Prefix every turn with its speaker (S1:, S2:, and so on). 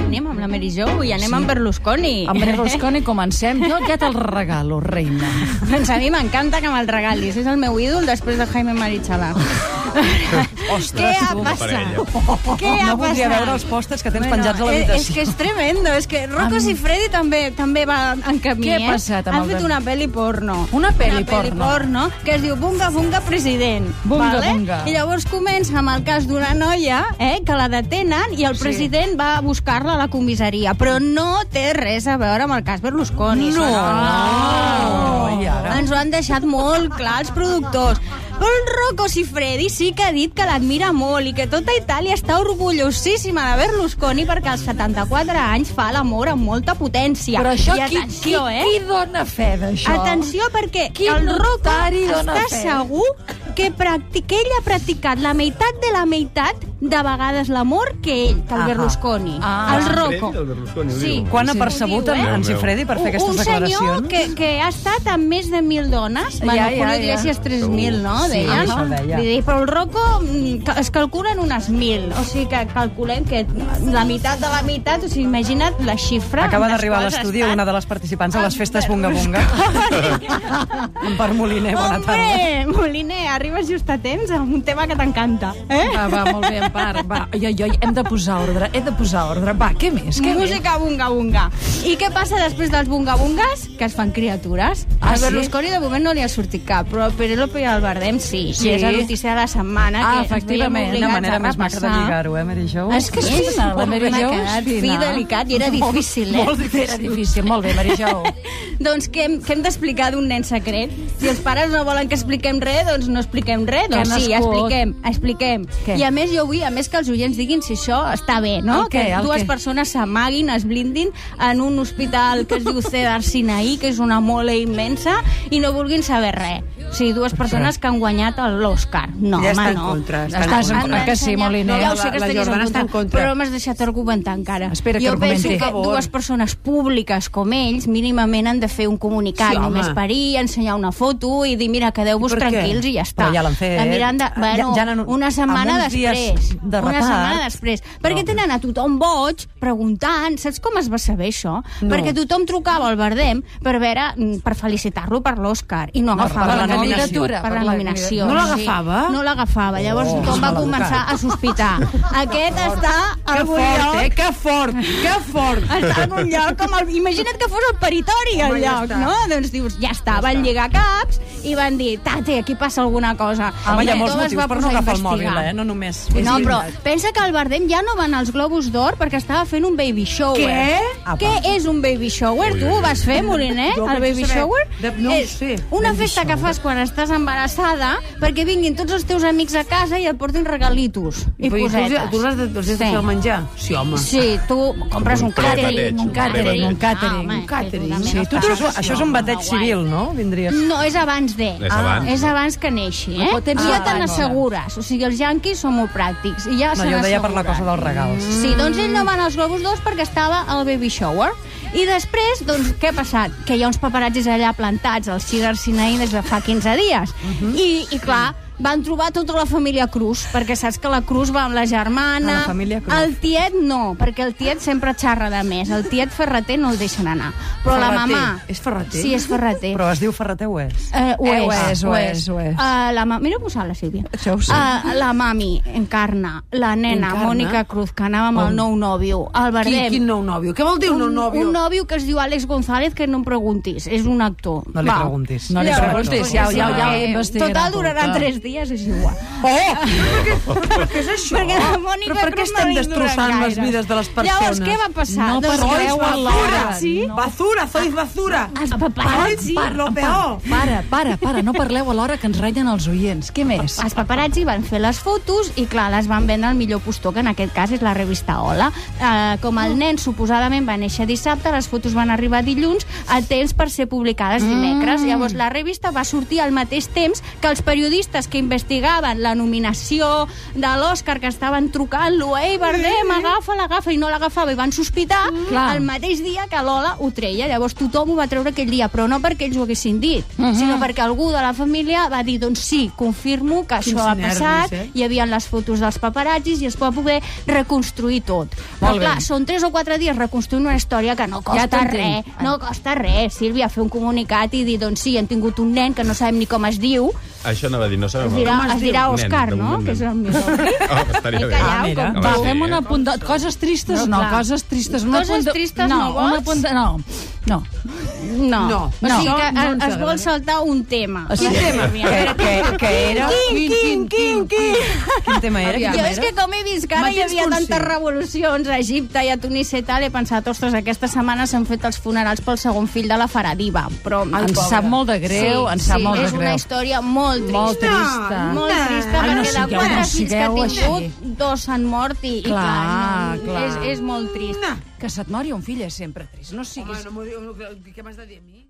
S1: anem amb la Mary Jo i anem sí. amb Berlusconi.
S2: Amb Berlusconi comencem. Jo ja te'l regalo, reina.
S1: doncs a mi m'encanta que me'l regalis. És el meu ídol després de Jaime Marichalá.
S2: Ostres,
S1: Què ha
S2: tu.
S1: passat?
S3: Parella.
S1: Què ha
S2: Oh, no voldria
S1: passat?
S2: veure els pòsters que tens penjats a
S1: eh,
S2: l'habitació.
S1: És que és tremendo, és que Rocco Siffredi també també va en camí,
S2: Què ha
S1: eh?
S2: passat amb
S1: Han
S2: el
S1: fet
S2: Berlusconi?
S1: una pel·li porno.
S2: Una pel·li porno.
S1: porno. porno que es diu Bunga Bunga President.
S2: Bunga
S1: vale?
S2: Bunga.
S1: I llavors comença amb el cas d'una noia eh, que la detenen i el
S2: Sí.
S1: president va a buscar-la a la comissaria, però no té res a veure amb el cas Berlusconi.
S2: No.
S1: això
S2: No, i ara?
S1: Ens ho han deixat molt clar els productors. Però el Rocco Siffredi sí que ha dit que l'admira molt i que tota Itàlia està orgullosíssima de Berlusconi perquè als 74 anys fa l'amor amb molta potència.
S2: Però això,
S1: I
S2: qui, qui,
S1: atenció, eh?
S2: qui dona fe d'això?
S1: Atenció, perquè
S2: Quin
S1: el Rocco
S2: notari dona
S1: està
S2: fe.
S1: segur que, practi que ell ha practicat la meitat de la meitat de vegades l'amor que ell, que el
S2: Ahà.
S1: Berlusconi.
S2: Ah.
S1: El
S3: Freddy del
S1: Rocco.
S3: Berlusconi, ho
S1: Sí.
S3: diu.
S2: Quan ha
S1: Sí.
S2: percebut
S1: Ho diu,
S2: en,
S1: eh?
S2: en Cifredi per fer aquestes
S1: un
S2: declaracions?
S1: senyor que, que ha estat amb més de 1.000 dones, bueno, ja, ja, ja. Iglesias 3.000, no?
S2: Sí,
S1: Deien.
S2: això deia.
S1: Vull dir, però el Rocco mm, ca- es calculen unes 1.000, o sigui que calculem que la meitat de la meitat, o sigui, imagina't la xifra...
S2: Acaba
S1: amb les
S2: d'arribar a
S1: quals ha
S2: l'estudi
S1: estat
S2: una de les participants a les
S1: el
S2: festes Bunga Bunga. Per Moliner, bona tarda.
S1: Hombre, Moliner, arribes just a temps amb un tema que t'encanta. Eh?
S2: Va, va, molt bé, en part. Va, ai, ai, ai, hem de posar ordre, he de posar ordre. Va, què més? Què més?
S1: Música bunga bunga. I què passa després dels bunga bungas? Que es fan criatures.
S2: Ah,
S1: a
S2: sí?
S1: Berlusconi de moment no li ha sortit cap, però a Penélope i al Bardem sí.
S2: Sí.
S1: I és a l'Odissea de la setmana.
S2: Ah,
S1: que ens
S2: efectivament,
S1: veiem
S2: una
S1: obligats
S2: manera
S1: a
S2: més maca de
S1: repassar.
S2: lligar-ho, eh, Mary Jo?
S1: És que és fina, la Mary Jo és
S2: Fi
S1: fina. Molt- molt
S2: Molt difícil. eh? Era difícil, molt bé, Mary Jo.
S1: Doncs què, hem- què hem d'explicar d'un nen secret? Si els pares no volen que expliquem res, doncs no expliquem res. Doncs sí,
S2: nascut.
S1: expliquem, expliquem.
S2: Què?
S1: I a més jo vull, a més que els oients diguin si això està bé, no?
S2: El què,
S1: que
S2: el
S1: dues
S2: què?
S1: persones s'amaguin, es blindin en un hospital que es diu Cedar Sinaí, que és una mole immensa, i no vulguin saber res. O sigui, dues persones que han guanyat l'Oscar. No, home,
S4: Ja està en
S1: no.
S4: contra, està en
S2: Estàs en
S1: Han
S2: contra. Que sí,
S1: d'ensenyar-
S2: Moliner.
S1: No, ja ho sé
S4: La-
S1: que
S4: la
S1: estaries
S4: Jordana
S1: en
S4: està en
S1: contra,
S4: contra.
S1: Però m'has deixat argumentar encara.
S2: Espera que
S1: jo penso
S2: argumenti.
S1: que
S2: Per
S4: favor.
S1: dues persones públiques com ells mínimament han de fer un comunicat,
S4: Sí, home.
S1: només parir, ensenyar una foto i dir, mira, quedeu-vos
S4: I per què?
S1: tranquils i ja està.
S2: Però ja l'han fet.
S1: La Miranda,
S2: Ja-
S1: bueno,
S2: ja
S1: ja,
S2: n'han-
S1: ja una setmana
S2: amb uns
S1: després.
S2: dies de
S1: una
S2: retard.
S1: setmana després. Perquè tenen a tothom boig, preguntant, saps com es va saber això?
S2: No.
S1: Perquè tothom trucava al Verdem per veure, mm, per felicitar-lo per l'Oscar i no
S2: No,
S1: agafava
S2: per la
S1: el nom. Per
S2: candidatura, per
S1: la
S2: la
S1: nominació.
S4: candidatura. No
S1: sí.
S4: l'agafava?
S1: No l'agafava. Llavors
S2: Oh,
S1: tothom va
S2: maleducat.
S1: començar a sospitar. Aquest està
S4: Que
S1: al
S4: fort,
S1: lloc
S4: eh? Que fort, que fort.
S1: està en un lloc com el... Imagina't que fos el peritori, el
S4: Home, ja
S1: lloc,
S4: està.
S1: no? Doncs dius, ja està, van lligar caps i van dir, tate, aquí passa alguna cosa.
S2: Home,
S1: I
S2: hi ha molts
S1: tothom es
S2: motius
S1: va
S2: per no
S1: posar a
S2: agafar el mòbil,
S1: investigar.
S2: eh? No només...
S1: No, però pensa que el Bardem ja no va anar als Globus d'Or perquè estava fent un baby shower.
S4: Què? Ah,
S2: Apa.
S1: Què és un baby shower?
S3: Ui,
S1: Tu
S3: ui,
S1: ho
S3: ui.
S1: vas fer, Moliner,
S4: Jo
S1: el
S4: penso
S1: baby
S4: saber.
S1: shower?
S4: De- no ho
S1: és
S4: sé.
S1: una festa que fas quan estàs embarassada perquè vinguin tots els teus amics a casa i et portin regalitos i
S4: Vull dir, tu els-
S1: cosetes.
S4: Tu l'has de, tu els has de
S1: Sí.
S4: fer el menjar? Sí, home.
S1: Sí, tu compres un
S3: Un prebateig,
S1: càtering, un
S3: un
S1: càtering,
S3: prebateig.
S1: un
S2: Ah,
S1: càtering.
S2: home,
S1: Un càtering.
S2: Sí, tu tens, això és un bateig civil, no? Vindria a ser.
S1: No, és abans de. Ah,
S3: És abans.
S1: És abans que neixi, eh?
S2: Però tens
S1: I ja
S2: raó,
S1: te
S2: no.
S1: n'assegures. O sigui, els yanquis són molt pràctics. I ja
S2: No,
S1: se
S2: jo ho deia per la
S1: n'asseguren.
S2: cosa dels regals.
S1: Sí, doncs ell no va anar als Globus 2 perquè estava al baby shower. I després, doncs, què ha passat? Que hi ha uns paparazzis allà plantats al Cedar Sinai des de fa 15 dies.
S2: Mhm.
S1: I, I, clar, van trobar tota la família Cruz, perquè saps que la Cruz va amb la germana...
S2: Ah, la família Cruz.
S1: El tiet no, perquè el tiet sempre xerra de més. El tiet Ferreter no el deixen anar. Però la
S4: Ferreter.
S1: mamà...
S4: És Ferreter?
S1: Sí, és Ferreter.
S2: Però es diu Ferreter West.
S1: Eh, ho,
S2: Eh,
S1: és,
S2: ho és, ho és, ho és.
S1: Eh, la ma... Mira ho posar la Sílvia.
S2: Això ho sé.
S1: Eh, la mami encarna, la nena,
S4: Encarna?
S1: Mònica Cruz, que anava amb el nou nòvio, el
S4: Qui,
S1: Verdem.
S4: quin nou nòvio? Què vol dir un nou nòvio?
S1: Un nòvio que es diu Àlex González, que no em preguntis, és un actor.
S2: No li
S1: Va.
S2: preguntis.
S5: No li
S1: Ja,
S5: preguntis, ja, ja, ja ho
S1: Eh,
S5: investigarà
S1: Total,
S5: tot,
S1: duraran
S5: clar.
S1: tres dies, és igual.
S4: Oh! Què és això?
S1: Perquè la Mònica
S4: Però per què
S1: Cruz no
S4: estem
S1: li duren
S4: destrossant
S1: gaire.
S4: les vides de les persones?
S1: Llavors, què va passar?
S5: No
S1: doncs,
S5: pas
S4: Sois
S5: Creu en
S4: basura!
S5: l'hora.
S4: Sí? Basura, sois basura!
S1: Els paparazzi,
S4: Paparazzi, lo peor!
S5: Para, para, para, no parleu a l'hora que ens ratllen els oients. Què més?
S1: Els paparazzi van fer les fotos i, clar, les van vendre al millor postor, que en aquest cas és la revista Hola. Eh, com el nen suposadament va néixer dissabte, les fotos van arribar dilluns a temps per ser publicades dimecres. Llavors, la revista va sortir al mateix temps que els periodistes que que investigaven la nominació de l'Oscar que estaven trucant-lo, ei, Bardem, agafa, l'agafa, i no l'agafava, i van sospitar
S2: Clar.
S1: el mateix dia que Lola ho treia. Llavors tothom ho va treure aquell dia, però no perquè ells ho haguessin dit, sinó perquè algú de la família va dir, doncs sí, confirmo que
S6: Quins
S1: això ha
S6: nervis,
S1: passat,
S6: eh?
S1: hi havia les fotos dels paparazzis i es va poder reconstruir tot. Però
S2: Molt bé.
S1: clar, són 3 o 4 dies reconstruint una història que no costa ja
S2: t'entenc.
S1: res, no costa res, Sílvia, fer un comunicat i dir, doncs sí, hem tingut un nen que no sabem ni com es diu,
S3: Això anava a dir, no sabem...
S1: es dirà,
S3: Com
S1: es dirà
S3: diu?
S1: Òscar,
S3: Nen,
S1: no?
S3: d'un
S1: Que és el
S3: nen.
S1: millor.
S3: Oh, estaria
S1: Eh,
S3: bé.
S1: callao,
S6: Ah, mira.
S1: com
S3: Va,
S2: Va,
S1: tu.
S3: sí,
S2: fem un
S3: eh?
S2: apunt de... Coses tristes,
S1: No,
S2: no,
S1: clar.
S2: coses tristes. Un
S1: Coses
S2: apunt de...
S1: tristes no
S2: un
S1: vols?
S2: apunt de... No, no.
S1: No.
S6: No.
S1: no. O sigui
S6: No.
S1: que
S6: No ens
S1: es, es vol
S6: agrada.
S1: saltar un tema.
S2: O sigui,
S1: que, que, que era... Quin, quin, quin, quin,
S4: Quin tema era?
S1: Eh, Jo és que com he vist que ara hi
S4: Matins
S1: havia tantes
S4: conscient.
S1: revolucions a Egipte i a Tunísia i tal, he pensat, ostres, aquesta setmana s'han fet els funerals pel segon fill de la Faradiva. Però
S2: Ens sap molt de greu, ens sap molt de
S1: És una
S2: greu.
S1: història molt trista.
S2: Molt trista.
S1: Molt
S6: No.
S1: trista,
S2: Ai,
S1: perquè
S2: no
S1: de
S2: sigueu,
S1: quatre
S2: no
S1: fills que ha
S2: sigueu així.
S1: tingut, dos s'han mort i, i
S2: Clar,
S1: clar, no,
S2: clar.
S1: És, és molt trist.
S6: No.
S2: Que se't mori un fill és sempre trist. No
S6: Home,
S2: siguis
S6: no m'ho diu, què m'has de dir a mi?